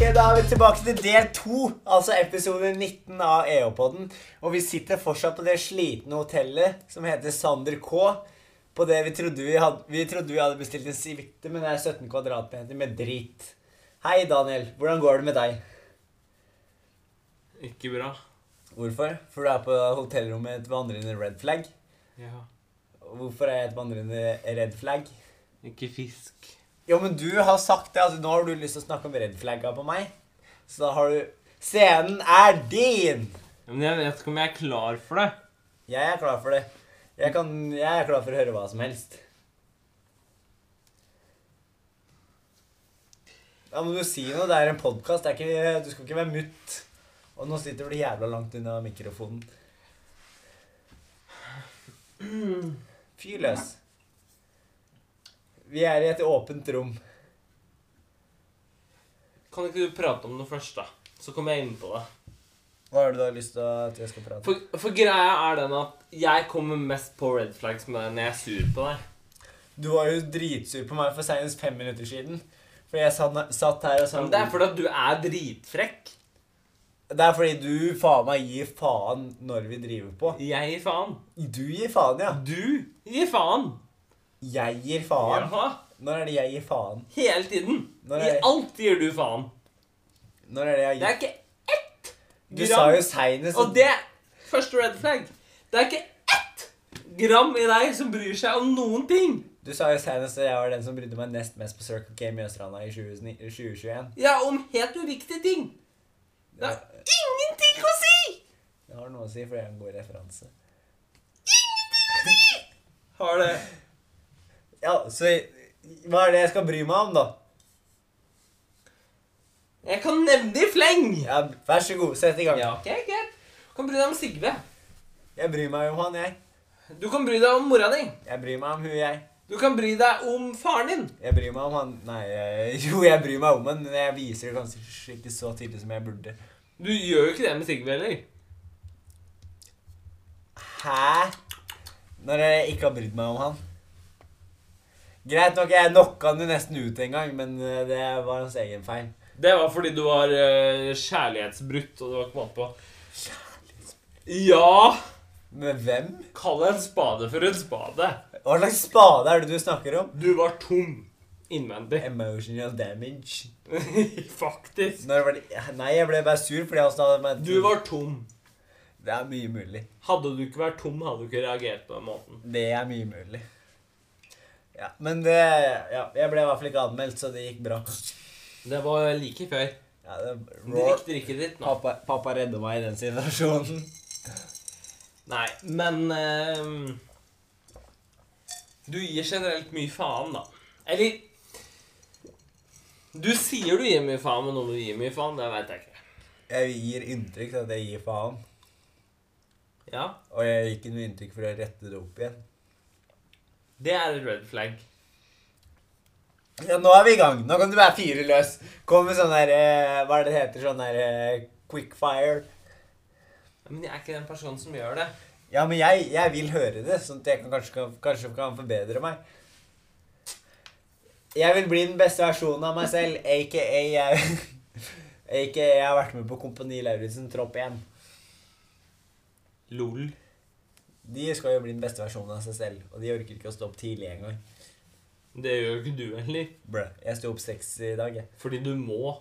tilbake til del to, altså episode 19 av EO-podden. Og vi sitter fortsatt på det slitne hotellet som heter Sander K. På det vi trodde vi hadde, vi trodde vi hadde bestilt en suite, men det er 17 kvadratmeter med drit. Hei, Daniel. Hvordan går det med deg? Ikke bra. Hvorfor? For du er på hotellrommet et vandrende red flag. Ja. Hvorfor er jeg et vandrende red flag? Ikke fisk. Jo, men du har sagt det. Altså, nå har du lyst til å snakke om red flagga på meg. Så da har du Scenen er din! Ja, Men jeg vet ikke om jeg er klar for det. Jeg er klar for det. Jeg, kan, jeg er klar for å høre hva som helst. Da må du si noe. Det er en podkast. Du skal ikke være mutt. Og nå sitter du jævla langt unna mikrofonen. Fyr løs. Vi er i et åpent rom. Kan ikke du prate om det først, da? Så kommer jeg inn på det. Hva har du da lyst til at jeg skal prate om? For, for greia er den at jeg kommer mest på red flags med deg når jeg er sur på deg. Du var jo dritsur på meg for senest fem minutter siden. For jeg satt, satt her og sa Men det er fordi at du er dritfrekk. Det er fordi du faen meg gir faen når vi driver på. Jeg gir faen. Du gir faen, ja. Du gir faen. Jeg gir faen. Ja. Når er det jeg gir faen? Hele tiden. Når I er- alt gir du faen. Når er det jeg Det er gir ikke ett Du sa gram. jo seinest Og det er første red flag. Det er ikke ett gram i deg som bryr seg om noen ting. Du sa jo senest at jeg var den som brydde meg nest mest på Circle K Mjøsstranda i 2009 2021. Ja, om helt uriktige ting. Det har ingenting å si! Det har noe å si, for det er en god referanse. Har det. Ja, så hva er det jeg skal bry meg om, da? Jeg kan nevne i fleng. Ja, Vær så god, sett i gang. Ja, ok, greit. Du kan bry deg om Sigve. Jeg bryr meg om han, jeg. Du kan bry deg om mora di. Jeg bryr meg om hun, jeg. Du kan bry deg om faren din. Jeg bryr meg om han Nei, jeg, jo, jeg bryr meg om han, men jeg viser det kanskje ikke så tydelig som jeg burde. Du gjør jo ikke det med Sigve heller. Hæ? Når jeg ikke har brydd meg om han. Greit nok, jeg knocka han jo nesten ut en gang, men eh, det var hans egen feil. Det var fordi du var eh, kjærlighetsbrutt, og du var ikke vant på Ja! Med hvem? Kall en spade for en spade. Hva slags spade er det du snakker om? Du var tom innvendig. Emotional damage. Faktisk. Når var det Nei, jeg ble bare sur fordi han sa men- Du var tom. Det er mye mulig. Hadde du ikke vært tom, hadde du ikke reagert på den måten. Det er mye mulig. Ja, men det Ja, jeg ble i hvert fall ikke anmeldt, så det gikk bra. Det var like før. Ja, det, Drikk drikket ditt nå. Pappa, pappa redda meg i den situasjonen. Nei, men ehm, Du gir generelt mye faen, da. Eller Du sier du gir mye faen, men om du gir mye faen, det veit jeg ikke. Jeg gir inntrykk av at jeg gir faen. Ja, Og jeg gir ikke noe inntrykk for å rette det opp igjen. Det er et red flag. Ja, nå er vi i gang. Nå kan du være fyre løs. Kom med sånn der eh, Hva er det det heter? Sånn der eh, quickfire. Men jeg er ikke den personen som gjør det. Ja, men jeg, jeg vil høre det, sånn at jeg kan, kanskje, kan, kanskje kan forbedre meg. Jeg vil bli den beste versjonen av meg selv, aka jeg Aka jeg har vært med på Kompani Lauritzen Tropp 1. Lol. De skal jo bli den beste versjonen av seg selv, og de orker ikke å stå opp tidlig engang. Det gjør jo ikke du heller. Brø, jeg sto opp seks i dag, jeg. Fordi du må.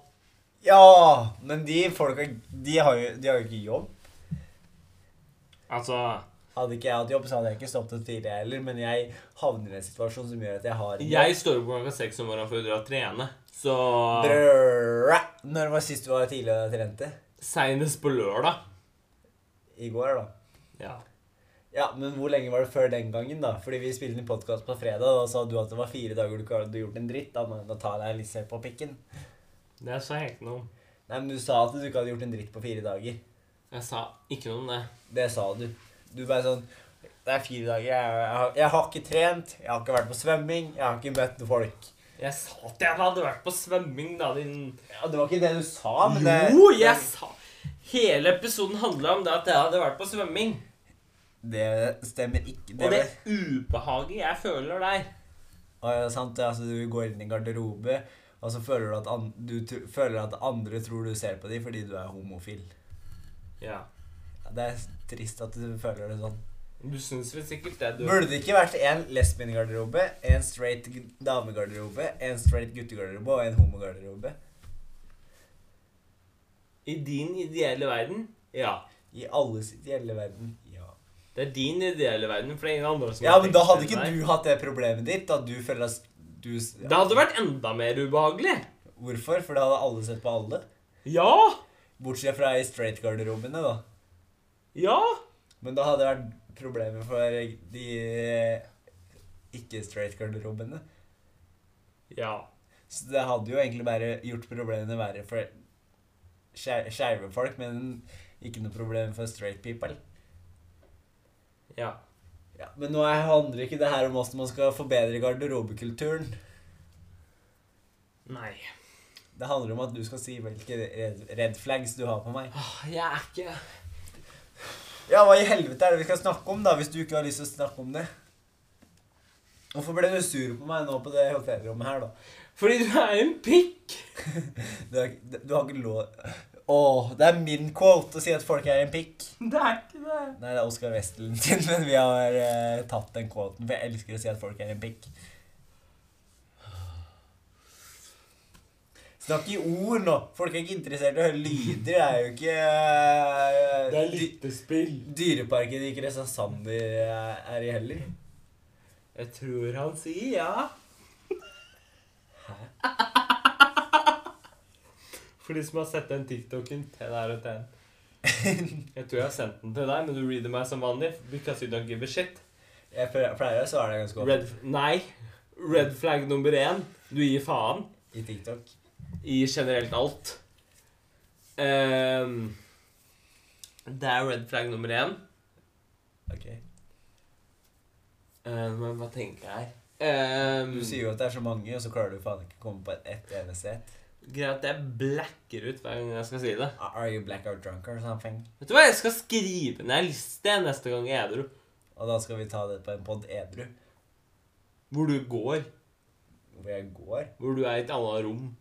Ja, men de folka, de har jo, de har jo ikke jobb. Altså Hadde ikke jeg hatt jobb, så hadde jeg ikke stått opp tidlig jeg heller, men jeg havner i en situasjon som gjør at jeg har en jobb. Jeg står opp klokka seks om morgenen for å dra og trene. Så Brø, Når var sist du var tidlig og trente? Seinest på lørdag. I går, da. Ja. Ja, men hvor lenge var det før den gangen, da? Fordi vi spilte inn podkast på fredag, og da sa du at det var fire dager du ikke hadde gjort en dritt, annet enn å ta deg litt selv på pikken. Det sa jeg ikke noe om. Nei, men du sa at du ikke hadde gjort en dritt på fire dager. Jeg sa ikke noe om det. Det sa du. Du bare sånn Det er fire dager. Jeg, jeg, har- jeg har ikke trent. Jeg har ikke vært på svømming. Jeg har ikke møtt noen folk. Jeg sa at jeg hadde vært på svømming, da, din Ja, Det var ikke det du sa, men det Jo, det- jeg sa Hele episoden handla om det at jeg hadde vært på svømming. Det stemmer ikke. Og det var- ubehaget jeg føler der. Å, ja, sant, det, altså, du går inn i garderobe, Og så føler du at, an du tr- føler at andre tror du ser på dem fordi du er homofil. Ja. Ja, Det er trist at du føler det sånn. Du syns vel sikkert det, du. Burde det ikke vært en lesbiengarderobe, en straight gu- damegarderobe, en straight guttegarderobe og en homogarderobe? I din ideelle verden, ja. I alles ideelle verden. Ja. Det er din ideelle verden, for det er ingen andre som ja, har men tenkt da hadde det ikke der. du hatt det problemet ditt, at du føler at du s- Det hadde vært enda mer ubehagelig. Hvorfor? For da hadde alle sett på alle. Ja! Bortsett fra i straight-garderobene, da. Ja! Men da hadde det vært problemer for de eh, ikke-straight-garderobene. Ja. Så det hadde jo egentlig bare gjort problemene verre for skei- skeive folk, men ikke noe problem for straight people. Ja. Ja, men nå er- handler ikke det her om hvordan man skal forbedre garderobekulturen. Nei. Det handler om at du skal si hvilke red, red flags du har på meg. Åh, Jeg er ikke Ja, hva i helvete er det vi skal snakke om, da, hvis du ikke har lyst til å snakke om det? Hvorfor ble du sur på meg nå på det hotellrommet her, da? Fordi du er en pikk! Du har, ikke- du har ikke lov Åh, det er min quote å si at folk er en pikk. Det er ikke det. Nei, det er Oskar Westelen sin, men vi har eh, tatt den quoten. For jeg elsker å si at folk er en pikk. Snakk i ord nå! Folk er ikke interessert i å høre lyder. Det er jo ikke eh, Det er lyttespill. dy- Dyreparken i Kristiansand de eh, er i heller. Jeg tror han sier ja. For de som har sett den TikToken til der og til Jeg tror jeg har sendt den til deg, men du reader meg som vanlig. Because you don't give a shit. Jeg pleier pleier å svare deg ganske godt Red, nei. Red flag nummer én. Du gir faen i TikTok. i generelt alt. Ehm, det er red flag nummer én. Ok. Ehm, men hva tenker jeg her Ehm, Du sier jo at det er så mange, og så klarer du faen ikke å komme på et- ett eneste et. Greit at jeg blacker ut hver gang jeg skal si det. Are you blackout drunk or something? Vet du hva, jeg skal skrive ned en liste neste gang jeg er edru. Og da skal vi ta det på en pod edru, Hvor du går. hvor jeg går. Hvor du er i et annet rom.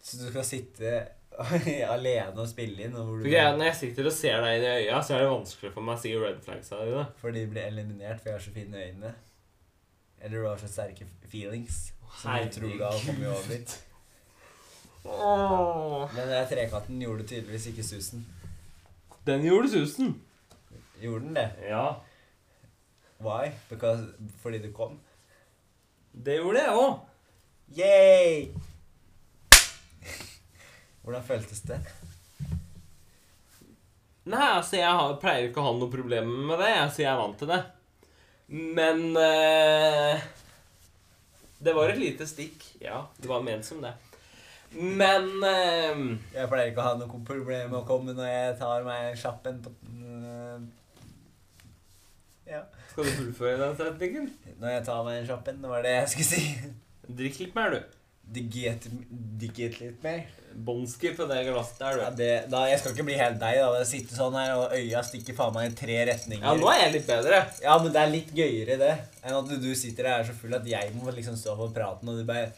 Så du skal sitte alene og spille inn, og hvor For du, greia, er, når jeg sitter og ser deg inn i øya, så er det vanskelig for meg å si red flags av dine. for de blir eliminert, for jeg har så fine øyne. Eller du har så sterke feelings som du tror du har kommet over. Åh. Men den trekatten gjorde tydeligvis ikke susen. Den gjorde susen. Gjorde den det? Ja. Why? Because, fordi du kom? Det gjorde jeg òg. Yay! Hvordan føltes det? Nei, altså, jeg har, pleier ikke å ha noe problem med det. Altså, jeg er vant til det. Men eh, Det var et lite stikk. Ja, det var ment som det. Men eh, Jeg pleier ikke å ha noe problem med å komme når jeg tar meg kjappen på mm, Ja. Skal du fullføre den setningen? Når jeg tar meg kjappen, det var det jeg skulle si. Drikk litt mer, du. Digget, digget litt mer. Bånski på det glasset Ja, der, du. det, da, jeg skal ikke bli helt deg, da. Jeg sitter sånn her, og øya stikker faen meg i tre retninger. Ja, nå er jeg litt bedre. Ja, men det er litt gøyere, det. Enn at du, du sitter her så full at jeg må liksom stå for praten, og du bare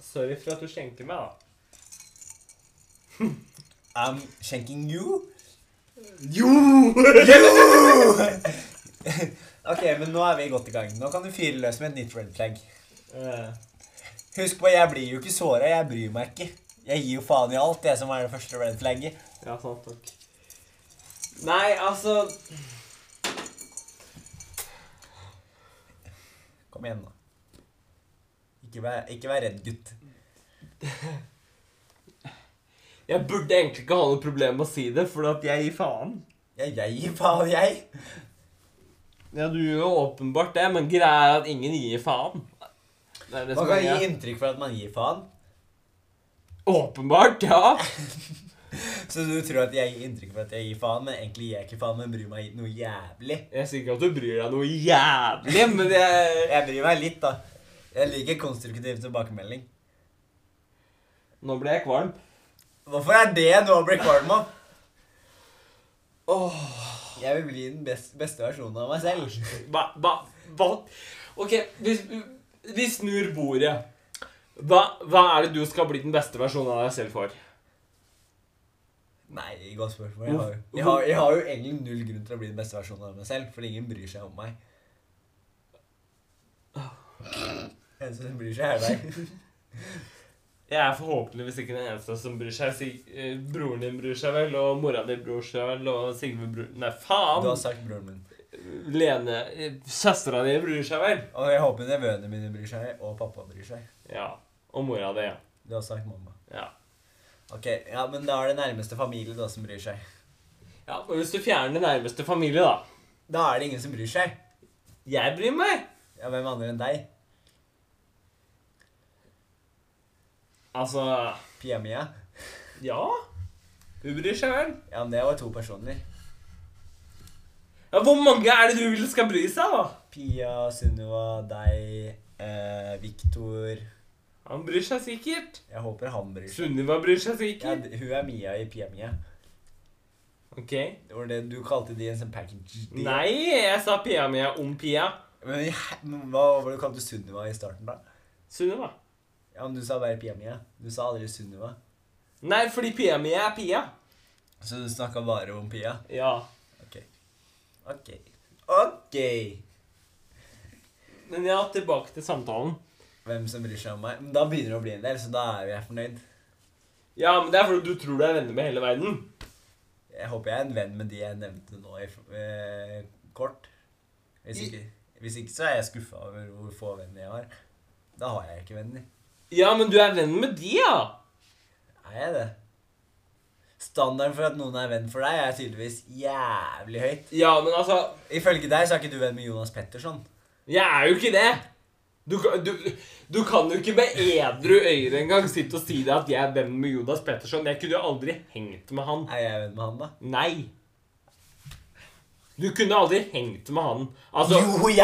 Sorry for at du skjenker meg, da. I'm shanking you. Jo! ok, men nå er vi godt i gang. Nå kan du fyre løs med et nytt red flag. Eh, Husk på, jeg blir jo ikke såra. Jeg bryr meg ikke. Jeg gir jo faen i alt, det som er det første red flagget. ja, sant nok. Nei, altså Kom igjen, nå. Ikke vær, ikke vær redd, gutt. Jeg burde egentlig ikke ha noe problem med å si det, for at jeg gir faen. Ja, jeg gir faen, jeg. Ja, du gjør jo åpenbart det, men greia er at ingen gir faen. Det er det Man som kan er gi greia. inntrykk for at man gir faen. Åpenbart, ja. Så du tror at jeg gir inntrykk for at jeg gir faen, men egentlig gir jeg ikke faen, men bryr meg noe jævlig. Jeg sier ikke at du bryr deg noe jævlig, men jeg Jeg bryr meg litt, da. Jeg liker konstruktiv tilbakemelding. Nå ble jeg kvalm. Hvorfor er det noe å bli kvalm av? Åh. Jeg vil bli den best, beste versjonen av meg selv. Hva, hva, hva, Ok, vi, vi snur bordet. Hva, hva er det du skal bli den beste versjonen av deg selv for? Nei, godt spørsmål. Jeg har, jo- jeg, har, jeg har jo egentlig null grunn til å bli den beste versjonen av meg selv, fordi ingen bryr seg om meg. Eneste som bryr seg, er deg. Jeg er forhåpentligvis ikke den eneste som bryr seg. Sig eh, broren din bryr seg vel, og mora di bryr seg vel, og Sigve bryr Nei, faen! Du har sagt broren min. Lene eh, Søstera di bryr seg vel? Og jeg håper nevøene mine bryr seg, og pappa bryr seg. Ja. Og mora di, ja. Du har sagt mamma. ja. Ok, ja, men da er det nærmeste familie da som bryr seg. Ja, men Hvis du fjerner nærmeste familie, da. Da er det ingen som bryr seg. Jeg bryr meg! Ja, hvem andre enn deg? Altså Pia Mia? Ja. Hun bryr seg vel. Ja, men det var to personer. Ja, Hvor mange er det du vil skal bry seg, da? Pia, Sunniva, deg, eh, Viktor Han bryr seg sikkert. Jeg håper han bryr seg. Sunniva bryr Ja, seg sikkert. d- hun er Mia i Pia Mia. Ok. Det var det du kalte de en sånn package deal. Nei, jeg sa Pia Mia om Pia. Men, i he- men hva var det du kalte Sunniva i starten, da? Sunniva. Ja, men Du sa bare Pia Mia. Du sa aldri Sunniva. Nei, fordi Pia Mia er Pia. Så du snakka bare om Pia? Ja. Ok. Ok. Ok! Men ja, tilbake til samtalen. Hvem som bryr seg om meg? Men Da begynner det å bli en del, så da er jeg fornøyd. Ja, men det er fordi du tror du er venner med hele verden. Jeg håper jeg er en venn med de jeg nevnte nå i f- eh, kort. Hvis I- ikke, hvis ikke så er jeg skuffa over hvor få venner jeg har. Da har jeg ikke venner. Ja, men du er venn med de, ja. Er jeg det? Standarden for at noen er venn for deg, er tydeligvis jævlig høyt. Ja, men altså Ifølge deg så er ikke du venn med Jonas Petterson. Jeg er jo ikke det. Du, kan- du, du kan jo ikke med edru øyne engang sitte og si deg at jeg er venn med Jonas Petterson. Jeg kunne jo aldri hengt med han. Er jeg venn med han, da? Nei. Du kunne aldri hengt med han. Altså, Jo, jeg-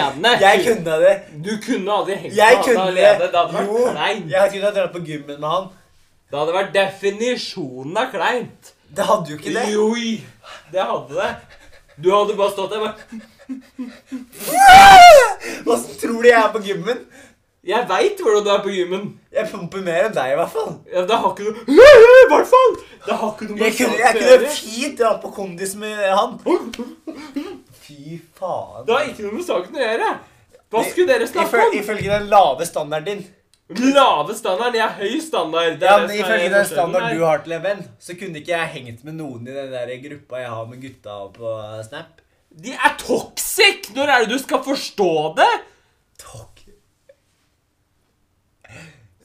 alene. Jeg kunne det! Du kunne aldri hengt Jeg med kunne han det! alene. Det hadde vært Jo, kleint. jeg kunne ha dratt på gymmen med han. Det hadde vært definisjonen av kleint. Det hadde jo ikke det. Joi, det hadde det. Du hadde bare stått der bare Åssen tror du jeg er på gymmen? Jeg veit hvordan du er på gymmen. Jeg pumper mer enn deg, i hvert fall. Ja, det har ikke noe I hvert fall! Det har ikke noe Jeg kunne, jeg kunne fint dratt på kondis med han. Fy faen. Det har ikke noe med saken å gjøre. Hva skulle dere snakke Ifø- om? Ifølge den lave standarden din. Lave standarden. Jeg er høy standard. Det er Ja, det men som er Ifølge den forskjellen standarden her. du har til en venn, så kunne ikke jeg hengt med noen i den der gruppa jeg har med gutta på Snap. De er toxic! Når er det du skal forstå det? Tok.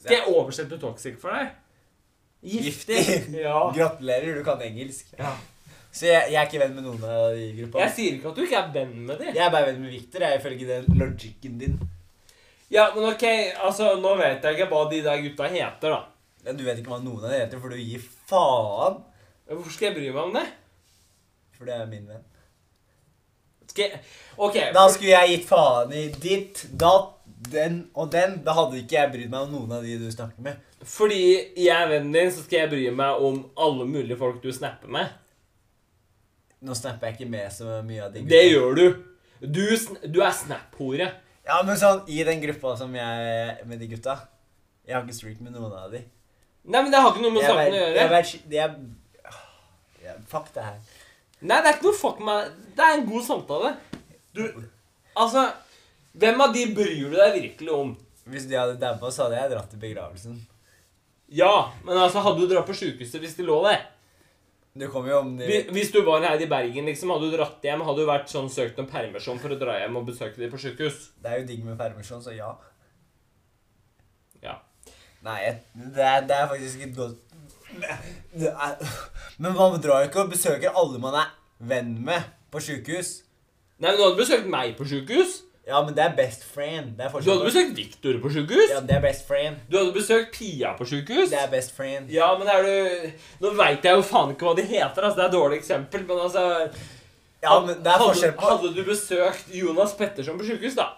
Skal jeg oversette toxic for deg? Giftig. Ja. Gratulerer, du kan engelsk. ja. Så jeg, jeg er ikke venn med noen av de i gruppa. Jeg sier ikke at du ikke er venn med dem. Jeg er bare venn med Victor, jeg, ifølge den logikken din. Ja, men ok, altså, nå vet jeg ikke hva de der gutta heter, da. Men du vet ikke hva noen av dem heter, for du gir faen. Hvorfor skal jeg bry meg om det? For det er min venn. Skal jeg... Ok, Da skulle jeg gitt faen i ditt, datt, den og den. Da hadde ikke jeg brydd meg om noen av de du snakker med. fordi jeg er vennen din, så skal jeg bry meg om alle mulige folk du snapper med. Nå snapper jeg ikke med så mye av de Det gjør du. Du, sn- du er snap-hore. Ja, men sånn, I den gruppa som jeg med de gutta Jeg har ikke streak med noen av de. Nei, men det har ikke noe med Jeg saken å vet- gjøre. Jeg vet, ikke- jeg, ja, fuck det her. Nei, det er ikke noe fuck meg. Det er en god samtale. Du, altså, hvem av de bryr du deg virkelig om? Hvis de hadde dabba, så hadde jeg dratt til begravelsen. Ja, men altså, hadde du dratt på sykehuset hvis de lå der? Det kommer jo om de Hvi- Hvis du var her i Bergen, liksom, hadde du dratt hjem? Hadde du vært sånn søkt om permisjon for å dra hjem og besøke dem på sykehus? Det er jo digg med permisjon, så ja. Ja. Nei, jeg, det, er, det er faktisk et godt det er, Men man drar jo ikke og besøker alle man er venn med på sjukehus. Nei, men du hadde besøkt meg på sykehus. Ja, men det er best friend. Det er Du hadde forskjell. besøkt Victor på sykehus. Ja, det er best friend. Du hadde besøkt Pia på sykehus. Det er best friend. Ja, men er du... Nå vet jeg jo faen ikke hva de heter, altså. Det er et dårlig eksempel, men altså... Ja, men det er hadde- forskjell på Hadde du besøkt Jonas Petterson på sykehus, da?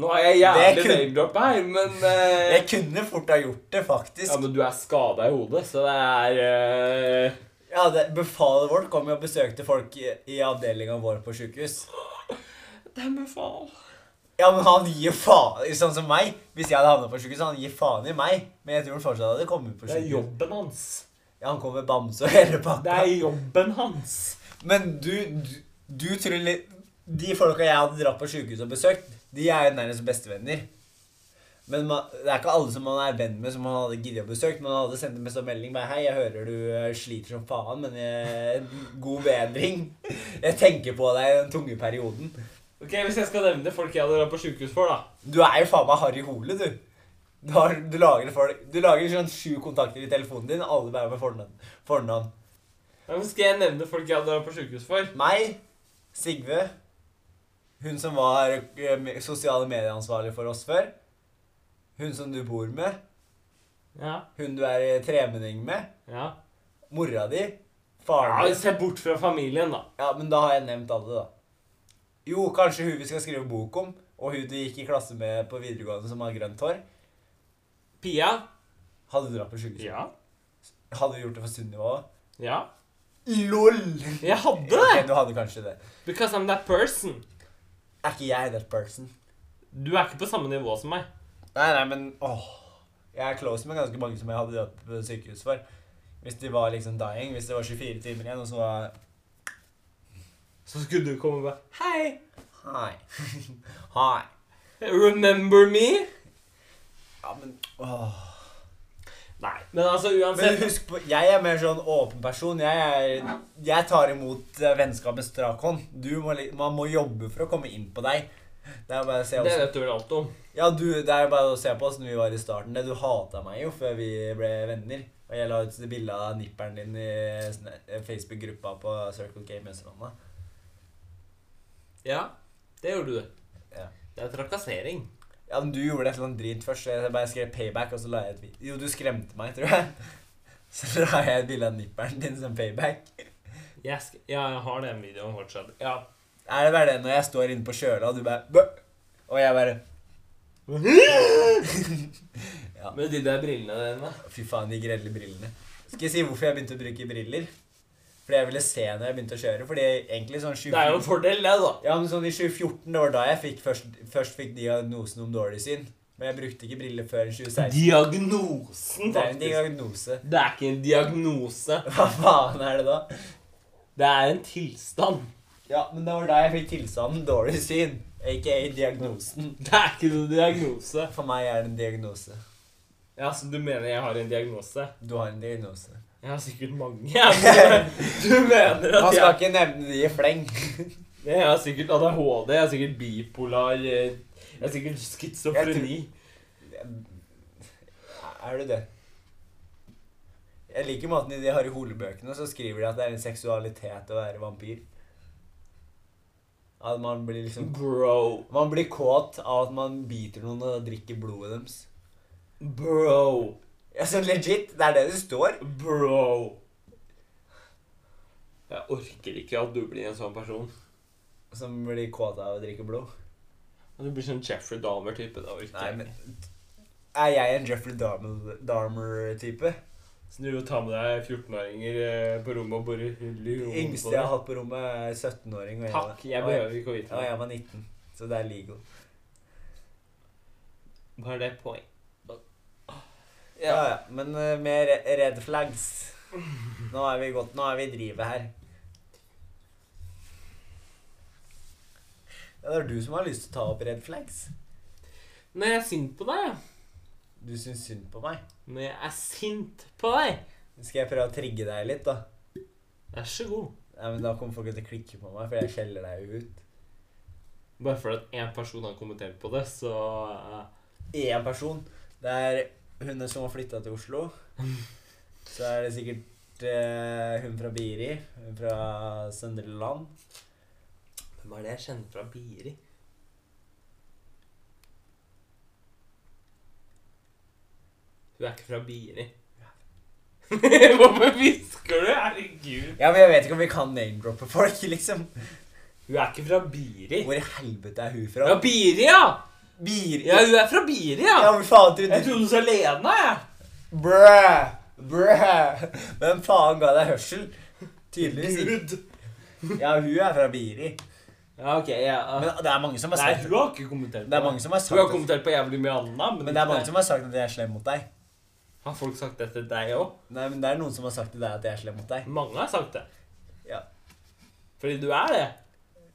Nå er jeg Det jævlig kun- name-droppa her, men... eh, Jeg kunne fort ha gjort det, Ja, faktisk. men du er skadet i hodet, så det er... eh, Ja, det, Befalet vårt kom jo og besøkte folk i, i avdelinga vår på sjukehus. Det er med faen. Ja, men han gir faen Sånn som meg. Hvis jeg hadde havnet på sjukehuset, han gir faen i meg. Men jeg tror han fortsatt hadde kommet på Det er sjukehus. jobben hans. Ja, han kom med bamse og hele Det pakka. er jobben hans. Men du, du, du tror litt De folka jeg hadde dratt på sjukehuset og besøkt, de er jo nærmest bestevenner. Men man, det er ikke alle som man er venn med, som man hadde giddet å besøke. Men man hadde sendt dem en sånn melding bare 'Hei, jeg hører du eh, sliter som faen, men jeg, god bedring.' 'Jeg tenker på deg i den tunge perioden.' Ok, Hvis jeg skal nevne folk jeg hadde dratt på sjukehus for, da. Du er jo faen meg Harry Hole, du. Du, har, du lager folk Du lager sånn sju kontakter i telefonen din, alle bare med fornavn. fornavn. Ja, men skal jeg nevne folk jeg hadde dratt på sjukehus for? Meg, Sigve, hun som var eh, me- sosiale medieansvarlig for oss før, hun som du bor med, Ja. hun du er i tremenning med, Ja. mora di, ja faren din Se bort fra familien, da. Ja, men da har jeg nevnt alle, da. Jo, kanskje hun vi skal skrive bok om, og hun du gikk i klasse med på videregående som har grønt hår, Pia. hadde du dratt på sjukehuset. Ja. Hadde du gjort det for Sunniva òg? Ja. LOL! Jeg hadde Ok, det! du hadde kanskje det. Because I'm that person. Er ikke jeg that person? Du er ikke på samme nivå som meg. Nei, nei, men åh. Jeg er close med ganske mange som jeg hadde dratt på sykehus for. Hvis de var liksom dying, hvis det var 24 timer igjen, og så var Så skulle du komme og bare Hei! Hei. Hei. Remember me? Ja, men åh. Nei. Men altså, Men uansett husk på, jeg er mer sånn åpen person. Jeg, er, jeg tar imot eh, vennskap med strak hånd. Du må, li- man må jobbe for å komme inn på deg. Det er bare å se Det hvordan vet du vel alt om. Ja, du, det er bare å se på åssen vi var i starten. Det, du hata meg jo før vi ble venner. Og jeg la ut det bildet av nipperen din i sånn- Facebook-gruppa på Circle K Mønsterlandet. Ja, det gjorde du. Ja. Det er trakassering. Ja, men du gjorde et eller annet drit først. så Jeg bare skrev payback, og så la jeg et video. Jo, du skremte meg, tror jeg. Så la jeg et bilde av nipperen din som payback. Jeg sk ja, jeg har den videoen fortsatt. Ja. Er det bare det når jeg står inne på kjøla, og du bare Bø! Og jeg bare Ja. Med de der brillene dine. Fy faen, de grelle brillene. Skal jeg si hvorfor jeg begynte å bruke briller? Fordi jeg ville se når jeg begynte å kjøre. Fordi egentlig sånn 20 Det er jo en fordel, det, da. Ja, men sånn i 2014, det var da jeg fikk først, først fikk diagnosen om dårlig syn. Men jeg brukte ikke briller før i 2016. Diagnosen, Det er en faktisk. diagnose. Det er ikke en diagnose. Hva faen er det da? Det er en tilstand. Ja, men det var da jeg fikk tilstanden dårlig syn, aka diagnosen. Det er ikke noen diagnose. For meg er det en diagnose. Ja, så du mener jeg har en diagnose? Du har en diagnose. Jeg har sikkert mange. jeg. Du mener Man at skal jeg ikke nevne de i fleng. Jeg har sikkert ADHD, jeg har sikkert bipolar, eh, jeg har sikkert schizofreni. Er du det? Jeg liker måten i de Harry Hole-bøkene så skriver de at det er en seksualitet å være vampyr. At man blir liksom Bro. Man blir kåt av at man biter noen og drikker blodet deres. Bro. Ja, så legit, det er det det står. Bro. Jeg orker ikke at du blir en sånn person. Som blir kåt av å drikke blod. At du blir sånn Jeffrey Dahmer-type. det orker Nei, jeg men ikke. Er jeg en Jeffrey Dahmer- Dahmer-type? Så du tar med deg 14-åringer eh, på rommet og borer hull i Det hodet yngste jeg har hatt på rommet, er 17-åring. og jeg var- Takk, jeg behøver ikke å Og vite jeg- det. og jeg var 19, så det er legal. Hva er det poeng? Ja, Ja. ja, Men eh, med re- red flags Nå er vi godt, nå er vi i drivet her. Ja, det er du som har lyst til å ta opp red flags. Når jeg er sint på deg, ja. Du syns synd på meg. når jeg er sint på deg, Skal jeg prøve å trigge deg litt, da? vær så god. Nei, men Da kommer folk til å klikke på meg, for jeg skjeller deg jo ut. Bare fordi at én person har kommentert på det, så eh, Én person. Det er hun som har flytta til Oslo. Så er det sikkert eh, hun fra Biri. Hun fra Søndre Land. Hvem er det jeg kjenner fra Biri? Hun er ikke fra Biri. Hvorfor hvisker du? Herregud. Ja, men jeg vet ikke om vi kan name-droppe folk, liksom. Hun er ikke fra Biri. Hvor i helvete er hun Ja, fra? Biri, ja! Biri. Ja, hun er fra Biri, Ja, ja! men faen Jeg trodde trodde du sa Lena, jeg. Brø! Brø! Hvem faen ga deg hørsel? Tydeligvis ikke. Gud. Ja, hun er fra Biri. Ja, ok, ja. Men det er mange som har Nei, sagt du har ikke kommentert på Det er mange som har Du har sagt kommentert på jævlig mye annet, men, Men det er mange som har sagt at jeg er slem mot deg. Har folk sagt det til deg òg? Nei, men det er noen som har sagt til deg at jeg er slem mot deg. Mange har sagt det. Ja. Fordi du er det.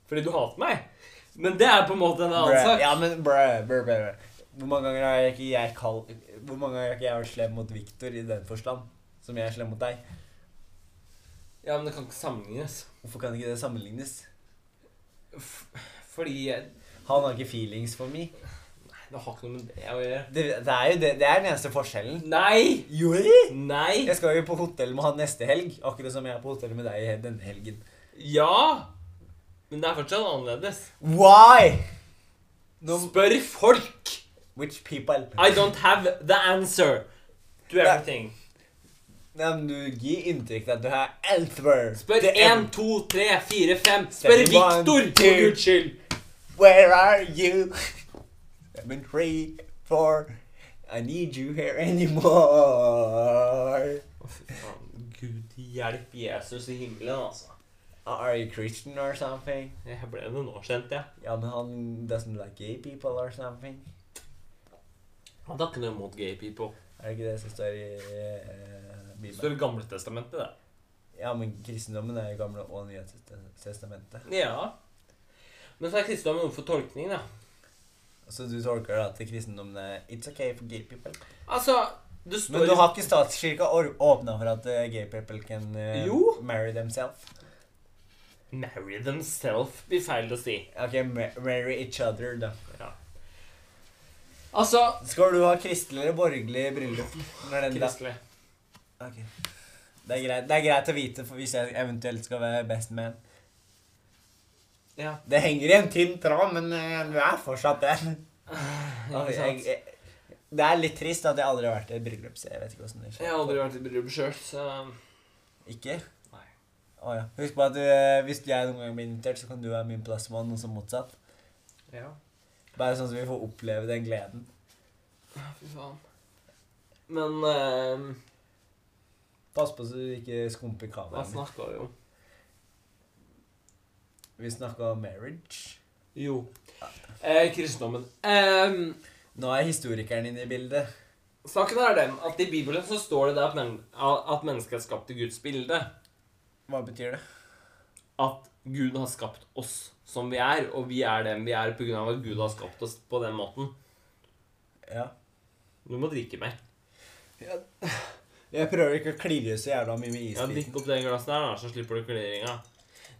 Fordi du hater meg. Men det er på en måte en annen Brø. sak. Ja, men brø, brø, brø, brø. Hvor mange ganger har jeg ikke jeg kall... Hvor mange ganger har ikke jeg vært slem mot Victor i den forstand? Som jeg er slem mot deg. Ja, men det kan ikke sammenlignes. Hvorfor kan ikke det sammenlignes? F- Fordi jeg, Han har ikke feelings for meg. Nei, det har ikke noe med det å gjøre. Det, det er jo det, det er den eneste forskjellen. Nei! Jori? Nei! Jeg skal jo på hotell med han neste helg, akkurat som jeg er på hotell med deg denne helgen. Ja! Men det er fortsatt annerledes. Why? Spør folk! Which people? I don't have the answer to everything. Nei, men du gir inntrykk av at du har elsewhere. Spør The én, end. to, tre, fire, fem. Spør Seven, one, Viktor, two. for guds skyld! Where are you? Seven, three, four. I need you here anymore. Å, fy faen. Gud hjelp Jesus i himmelen, altså. Are you Christian or something? Jeg ble det nå, kjente jeg. Ja, men han doesn't like gay people or something. Han har ikke noe imot gay people. Er det ikke det som står i eh, Det Bibelen? står i Gamletestamentet, det. Ja, men kristendommen er jo gamle og nye test- testamentet. Ja. Men så er kristendommen noe for tolkning, da. Så du tolker da at kristendommen er It's okay for gay people. Altså, det står Men du i- har ikke statskirka åpna for at eh, gay people can eh, Jo. marry themselves? Marry themself blir feil å si. Ok, ma- marry each other, da. Altså Skal du ha kristelig eller borgerlig bryllup? Når den da? Kristelig. Ok. Det, er greit, det er greit å vite for hvis jeg eventuelt skal være best man. Ja. Det henger i en tynn tråd, men eh, du er fortsatt der. Ikke jeg, sant? jeg, det er litt trist at jeg aldri har vært i et bryllup, så jeg vet ikke åssen det Jeg har aldri vært i bryllup sjøl, så Ikke? Nei. Å ja. Husk på at du, eh, hvis jeg noen gang blir invitert, så kan du være min plassmann, og så motsatt. Ja. Bare sånn at vi får oppleve den gleden. Fy faen. Men eh, Pass på så du ikke skumper Hva kameraet. mitt. snakka vi om? Vi snakka om marriage. Jo. Eh, kristendommen. Eh, Nå er historikeren inne i bildet. saken er den at i Bibelen så står det det at, men, at mennesket er skapt i Guds bilde. Hva betyr det? At Gud har skapt oss som vi er, og vi er dem vi er på grunn av at Gud har skapt oss på den måten. Ja. Du må drikke mer. Jeg prøver ikke å klirre så jævla mye med Ja, isbiten. Drikk opp det glasset der, da, så slipper du klirringa.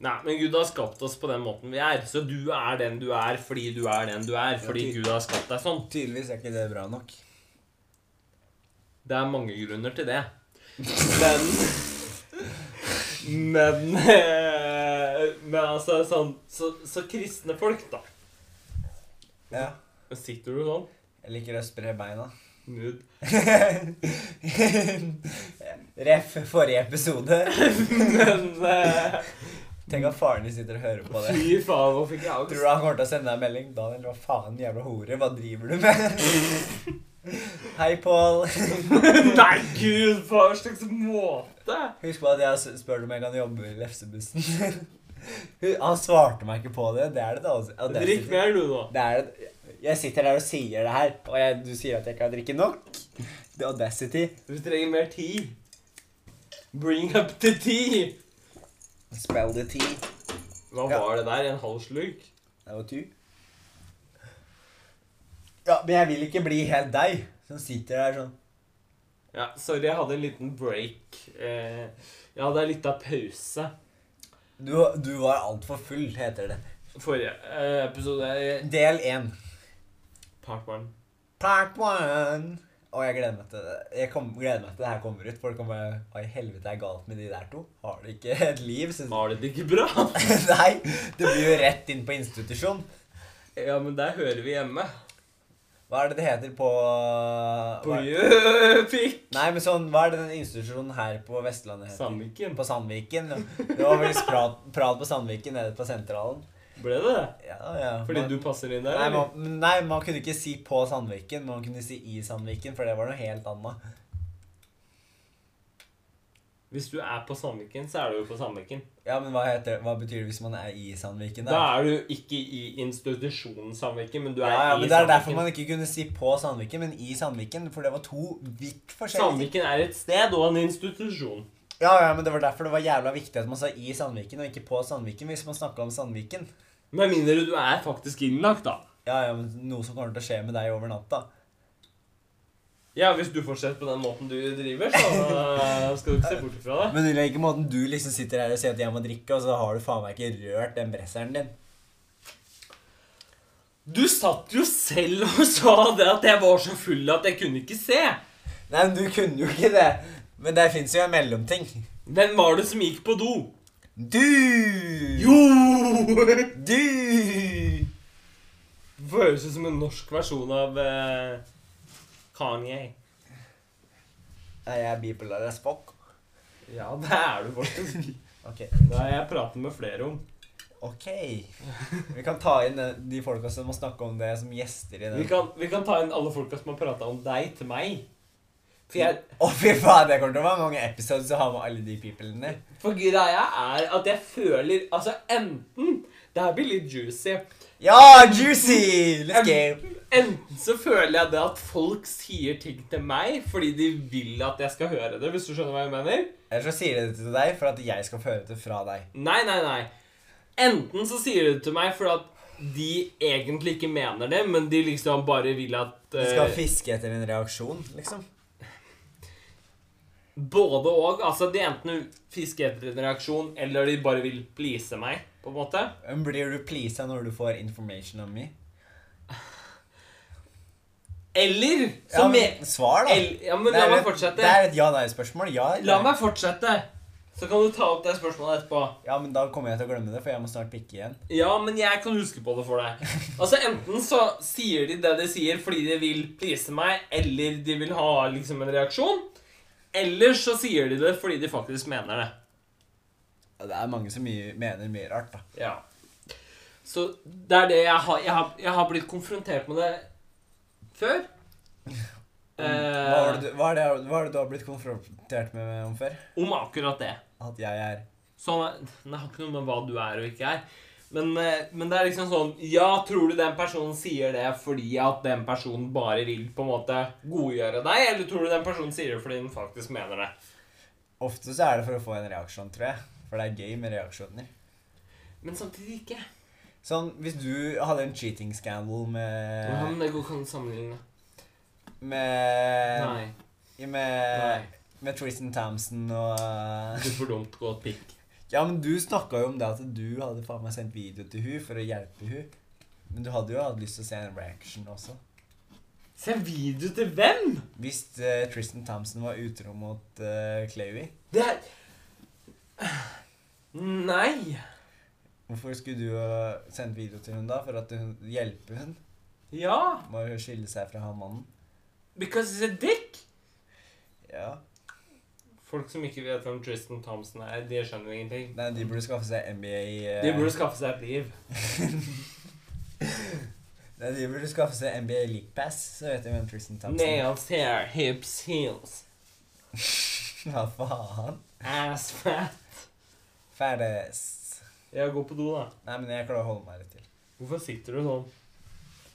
Nei, men Gud har skapt oss på den måten vi er. Så du er den du er fordi du er den du er. Fordi Ja, ty- Gud har skapt deg sånn. Tydeligvis er ikke det bra nok. Det er mange grunner til det. Men Men eh, Men altså, sånn Så, så kristne folk, da. Ja. Sitter du sånn? Jeg liker å spre beina. Nude. Ref forrige episode. Men eh, Tenk at faren din sitter og hører på det. fy faen, nå fikk jeg Tror angst. du han kommer til å sende deg en melding? Daniel, hva faen, jævla hore, hva driver du med? Hei, Pål. Nei, gud, på hva slags måte? Husk på at jeg s- spurte om jeg kan jobbe i lefsebussen. Hun- Han svarte meg ikke på det. Det er det, da. altså. Ja, det er- Drikk mer, du, nå. Det er det. Jeg sitter der og sier det her, og jeg, du sier at jeg ikke har drikket nok. The audacity. Du trenger mer tid. Bring up the tea. Spell the tea. Hva Ja. var det der? En halv slurk? Det var tu. Ja, men jeg vil ikke bli helt deg som sitter der sånn. Ja, sorry, jeg hadde en liten break. Eh, jeg hadde en liten pause Du, du var altfor full, heter det. forrige eh, episode. eh, Del én. Part one. Part one. Og jeg gleder meg til det. Jeg kom, gleder meg til det her kommer ut. Folk kommer Hva i helvete er galt med de der to? Har de ikke et liv? Synes Var det ikke bra? Nei. Det blir jo rett inn på institusjon. Ja, men der hører vi hjemme. Hva er det det heter på På hva- Gjøvik. Nei, men sånn, hva er det den institusjonen her på Vestlandet heter? Sandviken. På Sandviken. Det var vel prat, prat på Sandviken nede på sentralen. Ble det det? Ja, ja. Fordi man, du passer inn der? Nei eller? man, nei, man kunne ikke si på Sandviken, men man kunne si i Sandviken, for det var noe helt annet. Hvis du er på Sandviken, så er du jo på Sandviken. Ja, men hva, heter, hva betyr det hvis man er i Sandviken? Da Da? er du ikke i institusjonen Sandviken, men du er Ja, ja, i men Det er derfor Sandviken. man ikke kunne si på Sandviken, men i Sandviken. For det var to vidt forskjellige ting. Sandviken er et sted og en institusjon. Ja, ja, men det var derfor det var jævla viktig at man sa i Sandviken, og ikke på Sandviken hvis man snakka om Sandviken. Med mindre du er faktisk innlagt, da. Ja, ja, men Noe som kommer til å skje med deg over natta. Ja, hvis du fortsetter på den måten du driver, så eh, skal du ikke se bort ifra det. Men i like måten du liksom sitter her og sier at jeg må drikke, og så har du faen meg ikke rørt den bresseren din. Du satt jo selv og sa det at jeg var så full at jeg kunne ikke se. Nei, men du kunne jo ikke det. Men det fins jo en mellomting. Hvem var det som gikk på do? Du! Du! Jo! Det høres ut som en norsk versjon av eh, Kanye. Nei, jeg er bipolar as fuck. Ja, det er du faktisk. Ok. Det har jeg pratet med flere om. Ok. Vi kan ta inn eh, de folka som må snakke om det, som gjester i den. Vi kan, vi kan ta inn alle folka som har prata om deg til meg. For, jeg, Å, fy faen, det kommer til å være mange episodes å ha med alle de peoplene. for greia er at jeg føler Altså, enten Det her blir litt juicy. Ja, juicy! Let's go! Enten så føler jeg det at folk sier ting til meg fordi de vil at jeg skal høre det, hvis du skjønner hva jeg mener? Eller så sier de det til deg for at jeg skal føre det fra deg. Nei, nei, nei. Enten så sier de det til meg fordi at de egentlig ikke mener det, men de liksom bare vil at Du eh, skal fiske etter en reaksjon, liksom. Både og. Altså, de enten fisker etter en reaksjon, eller de bare vil please meg, på en måte. Men Blir du pleasa når du får information om me? Eller Ja, så me... men, svar, da. el- Ja, men Det la er meg et- Det fortsette. er et ja-nei-spørsmål. Ja, eller La nei? meg fortsette. Så kan du ta opp det spørsmålet etterpå. ja, men da kommer jeg til å glemme det, for jeg må snart pikke igjen. Ja, men jeg kan huske på det for deg. Altså, Enten så sier de det de sier fordi de vil please meg, eller de vil ha liksom en reaksjon. Eller så sier de det fordi de faktisk mener det. Ja, Det er mange som mye, mener mye rart, da. Ja. Så det er det jeg har Jeg har, jeg har blitt konfrontert med det før. Hva er, det, Eh, du- hva, er det, hva er det du har blitt konfrontert med om før? om akkurat det. At jeg er Sånn, det har ikke noe med hva du er og ikke er. Men, eh, men det er liksom sånn Ja, tror du den personen sier det fordi at den personen bare vil på en måte godgjøre deg, eller tror du den personen sier det fordi den faktisk mener det? Ofte så er det for å få en reaksjon, tror jeg. For det er gøy med reaksjoner. Men samtidig ikke. Sånn, Hvis du hadde en cheating scandal Ja, men med det går ikke an å sammenligne. Med, Nei. Nei. med, med Tristan Thompson og Du får dumt gå et pikk. Ja, men du snakka jo om det at du hadde faen meg sendt video til hun for å hjelpe hun Men du hadde jo hatt lyst til å se en reaction også. Se video til hvem? Hvis eh, Tristan Thompson var utro mot uh, Chloé, Det er Nei. hvorfor skulle du uh, sendt video til hun da? For at hun hjelper hun? Ja. Må jo skille seg fra han mannen. Because it's a dick. Ja. Folk som ikke vet hvem Tristan Thompson er, de skjønner ingenting. Nei, de burde skaffe seg MBA eh, De burde skaffe seg et liv. Nei, de burde skaffe seg NBA League Pass, så vet de hvem Tristan Thompson er. Nails, hair, hips, heels. Hva faen? Ass fat. Ferdes. Jeg går på do, da. Nei, men jeg klarer å holde meg litt til. Hvorfor sitter du sånn?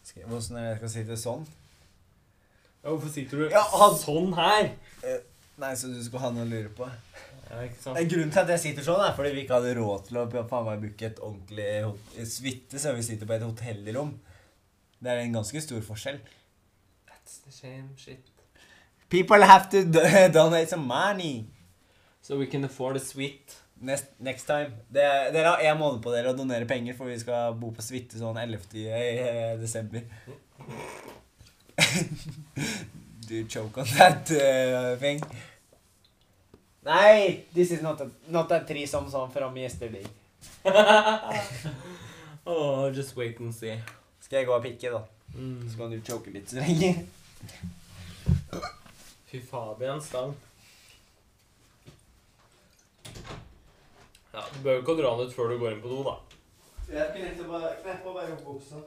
Skal, hvordan er det jeg skal si det sånn? Ja, hvorfor sitter du Ja, han- sånn her? Nei, så du skal ha noe å lure på? Ja, ikke Nei, sant? grunnen til at jeg sitter sånn, er fordi vi ikke hadde råd til å p- faen meg booke et ordentlig hot- suite, så vi sitter på et hotellrom. Det er en ganske stor forskjell. That's the shame, shit. People have to do donate some money. So we can afford a suite. Next, next time. Det, dere har en måned på dere å donere penger, for vi skal bo på suite sånn 11. i- i- i desember. du choke on that uh, thing. Nei! This is not a, not a threesome som from yesterday. oh, just wait and see. Skal jeg gå og pikke, da? Mm. Så kan du choke litt så lenge. Fy Fabian Stang. Ja, du behøver ikke å dra den ut før du går inn på do, da. Jeg skulle egentlig bare kneppe og bare opp buksa.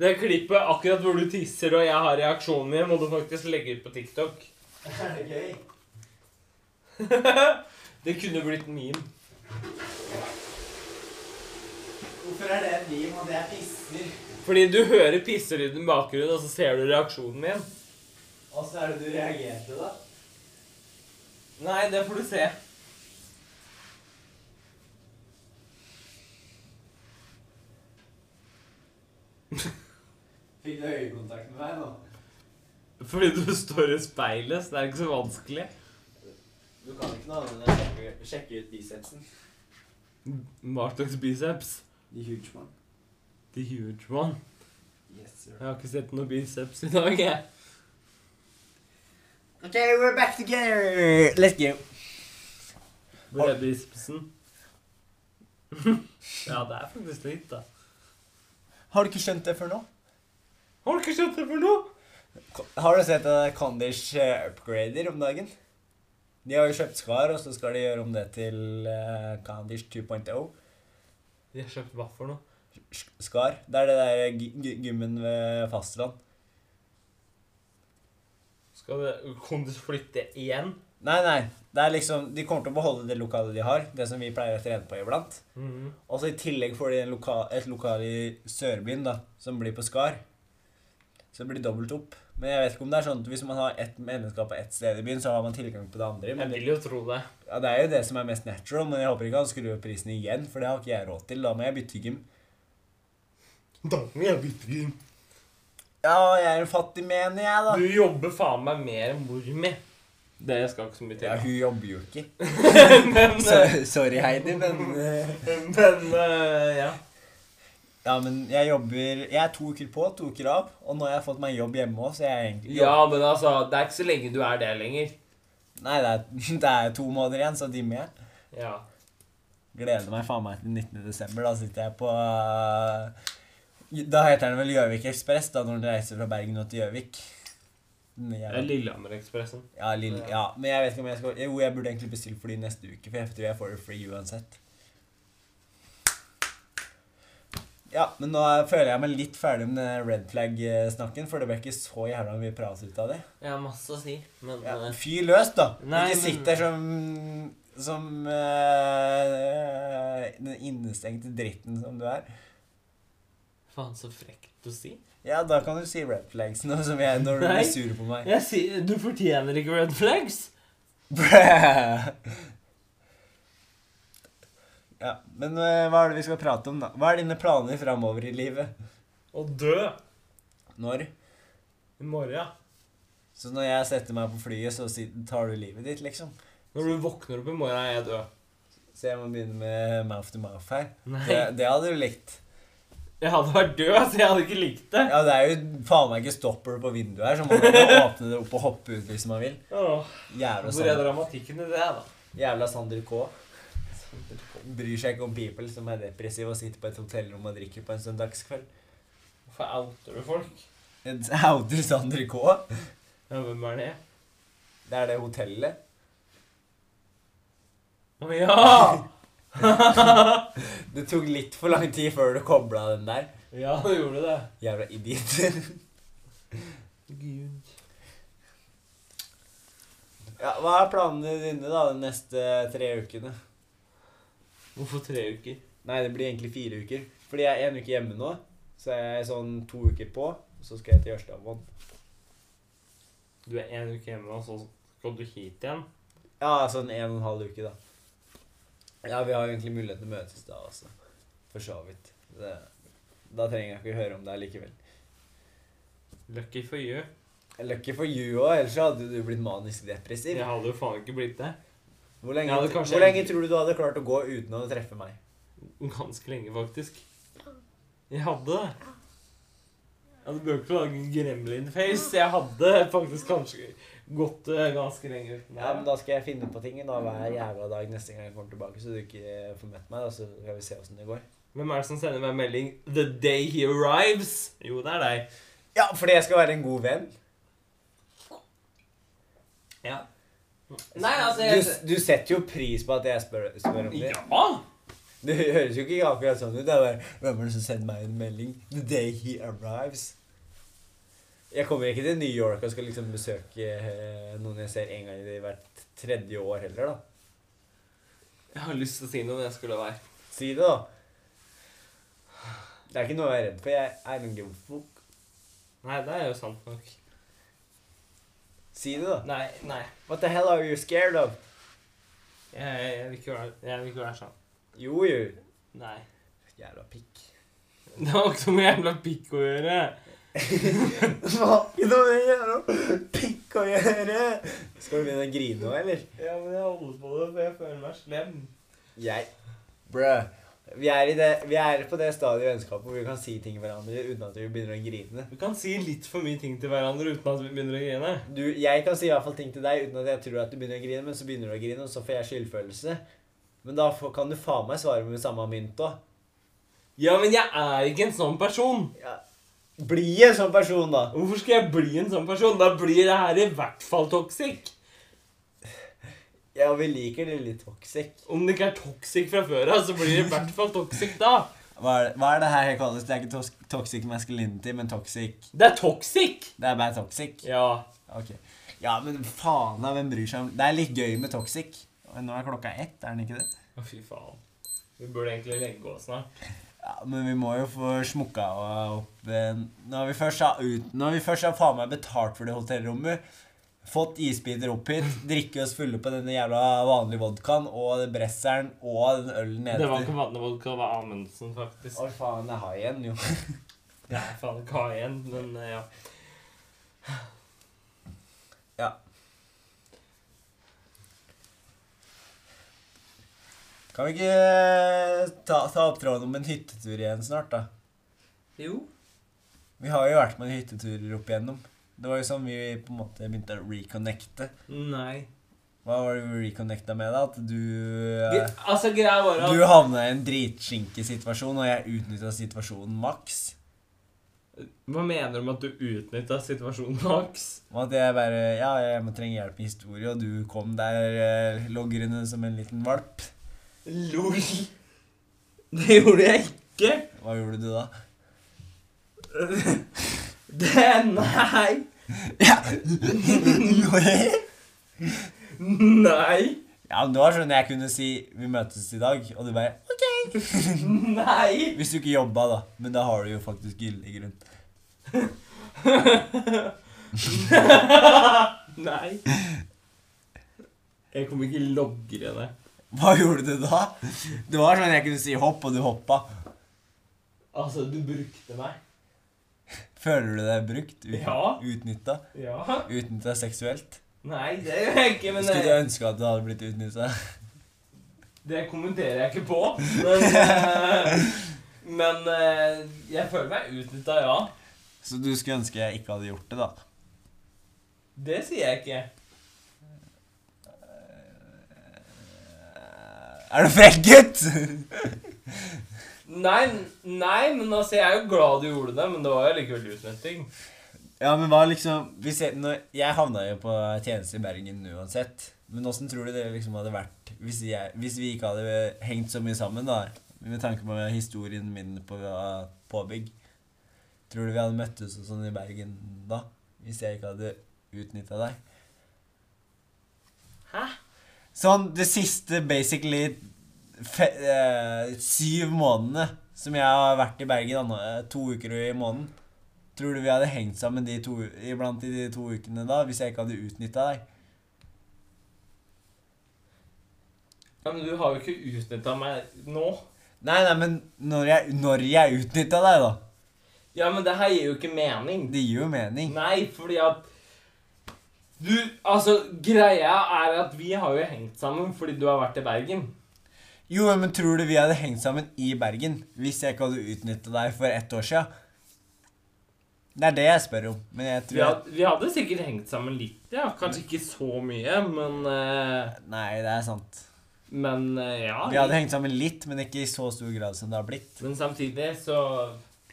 Det klippet akkurat hvor du tisser og jeg har reaksjonen min, må du faktisk legge ut på TikTok. Er det gøy? det kunne blitt meme. Hvorfor er det en meme og det er pisser? Fordi du hører pisselyden i bakgrunnen, og så ser du reaksjonen min. Åssen er det du reagerte, da? Nei, det får du se. Fikk du øyekontakt med meg nå? Fordi du står i speilet, så det er ikke så vanskelig. Du kan ikke noe annet enn å sjekke, sjekke ut bicepsen. Hva slags biceps? The huge one. The huge one. Yes, sir. Jeg har ikke sett noen biceps i dag, jeg. Okay, we're back together. Let's go. Brødbicepsen. ja, det er faktisk litt, da. Har du ikke skjønt det før nå? Har du ikke skjønt det for noe? Har du sett at Condish eh, upgrader om dagen? De har jo kjøpt Skar, og så skal de gjøre om det til eh, Condish 2.0. De har kjøpt hva for noe? Sk- Skar. Det er det der gy- gy- gymmen ved fastland. Skal det Kan du flytte igjen? Nei, nei. Det er liksom, De kommer til å beholde det lokalet de har, det som vi pleier å trene på iblant. Mhm. Og så i tillegg får de en loka, et lokal i Sørbyen, da, som blir på Skar. Så det blir dobbelt opp. Men jeg vet ikke om det er sånn at hvis man har ett medlemskap på ett sted i byen, så har man tilgang på det andre. Jeg Men vil jo tro det. Ja, Det er jo det som er mest natural, men jeg håper ikke han skrur opp prisen igjen, for det har ikke jeg råd til. Da må jeg bytte gym. Da må jeg bytte gym. Ja, jeg er en fattig mener jeg, da. Du jobber faen meg mer enn mor mi. Det skal ikke så mye Ja, til. hun jobber jo ikke. men eh, Så- Sorry, Heidi, men eh, men eh, ja. Ja, men jeg jobber Jeg er to uker på, to uker av, og nå har jeg fått meg jobb hjemme òg, så jeg er egentlig ja, men altså, det er ikke så lenge du er det lenger. Nei, det er, det er to måneder igjen, så de med. Ja. Gleder meg faen meg til 19. desember. Da sitter jeg på eh, Da heter den vel Gjøvik Ekspress, da, når den reiser fra Bergen og til Gjøvik. Den Det jævla- er Lillehammer-ekspressen. Ja, lille, ja. Ja. men jeg vet ikke om jeg skal Jo, jeg burde egentlig bestille fly neste uke, for jeg tror jeg får det free uansett. Ja, men nå føler jeg meg litt ferdig med den red flag-snakken, for det ble ikke så jævla mye prat ut av det. Jeg har masse å si, men Ja, eh, Fyr løs, da! Nei, ikke men- sitt der som som eh, den innestengte dritten som du er. Faen, så frekt å si. Ja, da kan du si red flags nå som jeg, når du Nei. blir sur på meg. Jeg sier, Du fortjener ikke red flags. Bræ. Ja, men eh, hva er det vi skal prate om, da? Hva er dine planer framover i livet? Å dø Når? i morgen. Så når jeg setter meg på flyet, så si- tar du livet ditt, liksom? Når du våkner opp i morgen, er jeg død. Så jeg må begynne med mouth to mouth her. Det, Nei. det hadde du likt. Jeg hadde vært død, så jeg hadde ikke likt det. Ja, det er jo faen meg ikke stopper på vinduet her, så man kan jo åpne det opp og hoppe ut hvis man vil. Åh, Jævla hvor er Sander, dramatikken i det, da? Jævla Sander K. Bryr seg ikke om people som er depressive og sitter på et hotellrom og drikker på en søndagskveld. Hvorfor outer du folk? Outer Sander K. Ja, hvem er det? Det er det hotellet. Å ja! Det tok litt for lang tid før du kobla den der. Ja, du gjorde det. Jævla idiot. Gud. ja, hva er planene dine da de neste tre ukene? Hvorfor tre uker? Nei, det blir egentlig fire uker. Fordi jeg er en uke hjemme nå. Så er jeg sånn to uker på, og så skal jeg til Jørstadmoen. Du er én uke hjemme, og så skal du hit igjen? Ja, sånn en og en halv uke, da. Ja, vi har jo egentlig mulighet til å møtes da også. For så vidt. Det, da trenger jeg ikke høre om det likevel. Lucky for you. Lucky for you òg, ellers så hadde du blitt manisk depressiv. Jeg hadde jo faen ikke blitt det. Hvor, lenge, Jeg hadde kanskje- hvor lenge tror du du hadde klart å gå uten å treffe meg? Ganske lenge, faktisk. Jeg hadde det. Ja, Du bør ikke lage en gremlin-face. Jeg hadde faktisk kanskje gått eh, ganske lenge uten Ja, men det. da skal jeg finne på ting da, hver jævla dag neste gang jeg kommer tilbake, så du ikke får møtt meg. Da, så skal vi se åssen det går. Hvem er det som sender meg melding 'The day he arrives'? Jo, det er deg. Ja, fordi jeg skal være en god venn. Ja. Nei, altså Du, jeg... du setter jo pris på at jeg spør, spør om det. Ja! Det høres jo ikke akkurat sånn ut. Det er bare Hvem var det som sendte meg en melding? The day he arrives. Jeg kommer ikke til New York og skal liksom besøke eh, noen jeg ser en gang i hvert tredje år heller, da. Jeg har lyst til å si noe, men jeg skulle la være. Si det, da. Det er ikke noe jeg er redd for. Jeg I don't give a fuck. Nei, det er jo sant nok. Si det, da. Nei, nei. What the hell are you scared of? Jeg, jeg, vil, ikke være, jeg vil ikke være sånn. Jo, jo. Nei. Jævla pikk. Det har ikke noe med jævla pikk å gjøre. Hva har ikke noe med jævla pikk å gjøre? Skal du begynne å grine nå, eller? Ja, men jeg holder på det, for jeg føler meg slem. Jeg Bruh. Vi er, i det, vi er på det stadiet i vennskapet hvor vi kan si ting til hverandre uten at vi begynner å grine. Vi kan si litt for mye ting til hverandre uten at vi begynner å grine. Du, jeg kan si i hvert fall ting til deg uten at jeg tror at du begynner å grine, men så begynner du å grine, og så får jeg skyldfølelse. Men da får, kan du faen meg svare med samme mynt òg. Ja, men jeg er ikke en sånn person. Ja. Bli en sånn person, da. Hvorfor skal jeg bli en sånn person? Da blir det her i hvert fall toxic. Ja, vi liker det litt toxic. Om det ikke er toxic fra før av, så blir det i hvert fall toxic da. Hva er det, hva er det her kalles? Det er ikke tos- toxic masculinity, men toxic Det er toxic! Det er bare toxic. Ja. Ok. Ja, men faen da, hvem bryr seg om Det er litt gøy med toxic. Nå er klokka ett, er den ikke det? Å, fy faen. Vi burde egentlig legge oss snart. Ja, men vi må jo få smukka opp eh, Når vi først har, ut, når vi først har faen meg betalt for det hotellrommet, fått isbiter opp hit, drikke oss fulle på denne jævla vanlige vodkaen og den bresseren og den ølen Det var nede ikke vannevodka, det var Amundsen, faktisk. Å, faen, jeg har igjen, jo. Det er faen ikke ha igjen, men eh, ja. Kan vi ikke eh, ta, ta opp tråden om en hyttetur igjen snart, da? Jo. Vi har jo vært med hytteturer opp igjennom. Det var jo sånn vi på en måte begynte å reconnecte. Nei. Hva var det vi reconnecta med, da? At du eh, Gre- Altså, greia var Du at havna i en dritskinke-situasjon, og jeg utnytta situasjonen maks. Hva mener du med at du utnytta situasjonen, Max? Og at jeg bare Ja, jeg må trenge hjelp med historie, og du kom der eh, logrende som en liten valp. Lol. Det gjorde jeg ikke. Hva gjorde du da? Det Nei. ja, Nei. men det var sånn jeg kunne si 'vi møtes i dag', og du bare OK. Nei. Hvis du ikke jobba, da. Men da har du jo faktisk gyldig grunn. Nei. Jeg kommer ikke logre det. Hva gjorde du da? Det var sånn jeg kunne si 'hopp', og du hoppa. Altså, du brukte meg. Føler du deg brukt? Ut, Ja. Utnytta? Ja. Utnytta seksuelt? Nei, det gjør jeg ikke, men Skulle du det, ønske at du hadde blitt utnytta? det kommenterer jeg ikke på. Men, eh, men eh, jeg føler meg utnytta, ja. Så du skulle ønske jeg ikke hadde gjort det, da? Det sier jeg ikke. Er du frekk, gutt? Nei, nei, men altså, jeg er jo glad du gjorde det, men det var jo likevel utnytting. ja, men hva liksom hvis jeg, når, jeg havna jo på tjeneste i Bergen uansett. Men åssen tror du det liksom hadde vært hvis, jeg, hvis vi ikke hadde hengt så mye sammen, da? Med tanke på historien min på påbygg. Tror du vi hadde møttes og sånn i Bergen da? Hvis jeg ikke hadde utnytta deg? Hæ? Sånn det siste basically fe, eh, syv månedene som jeg har vært i Bergen, anna- eh, to uker i måneden Tror du vi hadde hengt sammen de to, iblant i de to ukene da, hvis jeg ikke hadde utnytta deg? Ja, men du har jo ikke utnytta meg nå. Nei, nei, men når jeg, når jeg utnytta deg, da Ja, men det her gir jo ikke mening. Det gir jo mening. Nei, fordi at Du, altså, greia er at vi har jo hengt sammen fordi du har vært i Bergen. Jo, men tror du vi hadde hengt sammen i Bergen hvis jeg ikke hadde utnytta deg for ett år sia? Det er det jeg spør om. Men jeg Vi tror hadde, vi hadde sikkert hengt sammen litt, ja. Kanskje ikke så mye, men eh, Nei, det er sant. Men eh, ja. Vi hadde hengt sammen litt, men ikke i så stor grad som det har blitt. Men samtidig så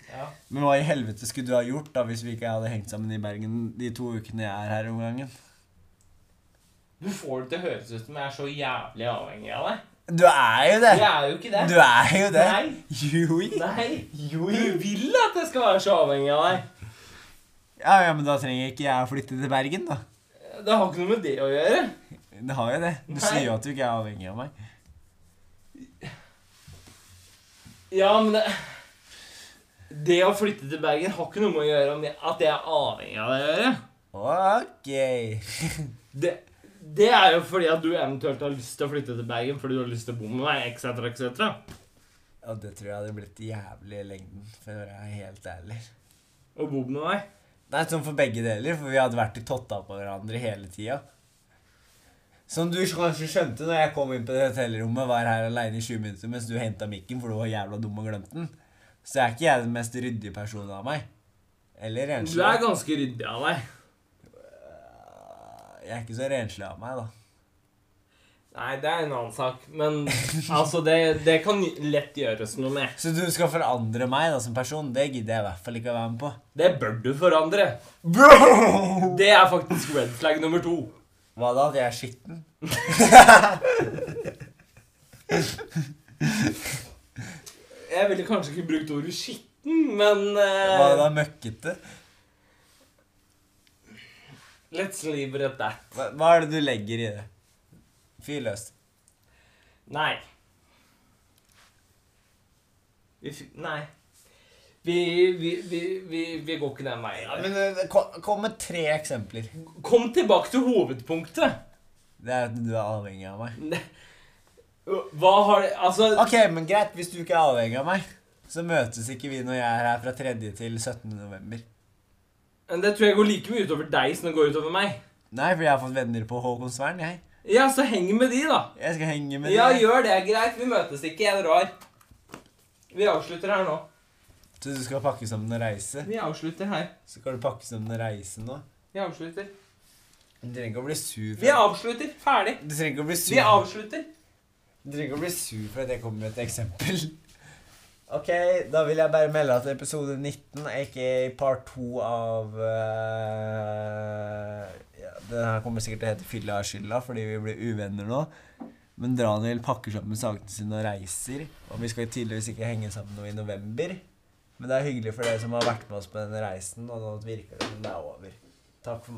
Ja. Men hva i helvete skulle du ha gjort da hvis vi ikke hadde hengt sammen i Bergen de to ukene jeg er her om gangen? Du får det til å høres ut som jeg er så jævlig avhengig av deg. Du er jo det. Jeg er jo ikke det. Du er jo det. Nei. Jo, i. Nei. Jo, i. Du vil at jeg skal være så avhengig av deg. Ja, ja, men da trenger ikke jeg å flytte til Bergen, da. Det har ikke noe med det å gjøre. Det har jo det. Du Nei. sier jo at du ikke er avhengig av meg. Ja, men det Det å flytte til Bergen har ikke noe med å gjøre om jeg, at jeg er avhengig av deg å gjøre. Ok. Det, det er jo fordi at du eventuelt har lyst til å flytte til Bergen fordi du har lyst til å bo med meg, etc., etc. Ja, det tror jeg hadde blitt jævlig i lengden, for å være helt ærlig. Og bo med meg. Nei, sånn for begge deler, for vi hadde vært i totta på hverandre hele tida. Som du kanskje skjønte når jeg kom inn på det hotellrommet, var her aleine i 20 minutter mens du henta mikken, for du var jævla dum og glemte den. Så er ikke jeg den mest ryddige personen av meg. Eller Du er renslig. ganske ryddig av deg. Jeg er ikke så renslig av meg, da. Nei, det er en annen sak. Men altså, det, det kan lett gjøres noe med. Så du skal forandre meg da som person? Det gidder jeg i hvert fall ikke å være med på. Det bør du forandre. Bro! Det er faktisk red flag nummer to. Hva da? At jeg er skitten? Jeg ville kanskje ikke brukt ordet skitten, men eh, Hva da? Møkkete? Let's leave it at that. Hva, hva er det du legger i det? Fyr løs. Nei. Vi fi- Nei. Vi, vi, vi, vi, vi går ikke den veien. Ja, men eh, kom, kom med tre eksempler. Kom tilbake til hovedpunktet. Det er at du er avhengig av meg. Hva har det Altså Ok, men greit, hvis du ikke er avhengig av meg, så møtes ikke vi når jeg er her fra 3. til 17. november. Det tror jeg går like mye utover deg som det går utover meg. Nei, for jeg har fått venner på Håkonsvern, jeg. Ja, så heng med de, da. Jeg skal henge med Ja, deg. gjør det. Greit. Vi møtes ikke. Jeg drar. Vi avslutter her nå. Så du skal pakke sammen og reise? Vi avslutter her. Så kan du pakke sammen og reise nå? Vi avslutter. Du trenger ikke å bli sur for Vi avslutter. Ferdig. Du trenger ikke å bli sur Vi avslutter. Du trenger ikke å bli sur for at jeg kommer med et eksempel. Ok, da vil jeg bare melde at episode 19, aka part 2 av eh, ja, Den her kommer sikkert til å hete Fylla av skylda fordi vi blir uvenner nå. Men Daniel pakker sammen sakene sine og reiser. Og vi skal tydeligvis ikke henge sammen nå i november. Men det er hyggelig for dere som har vært med oss på denne reisen, og nå virker det som det er over. Takk for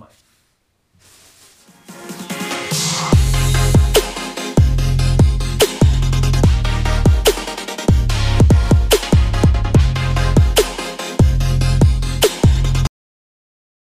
meg.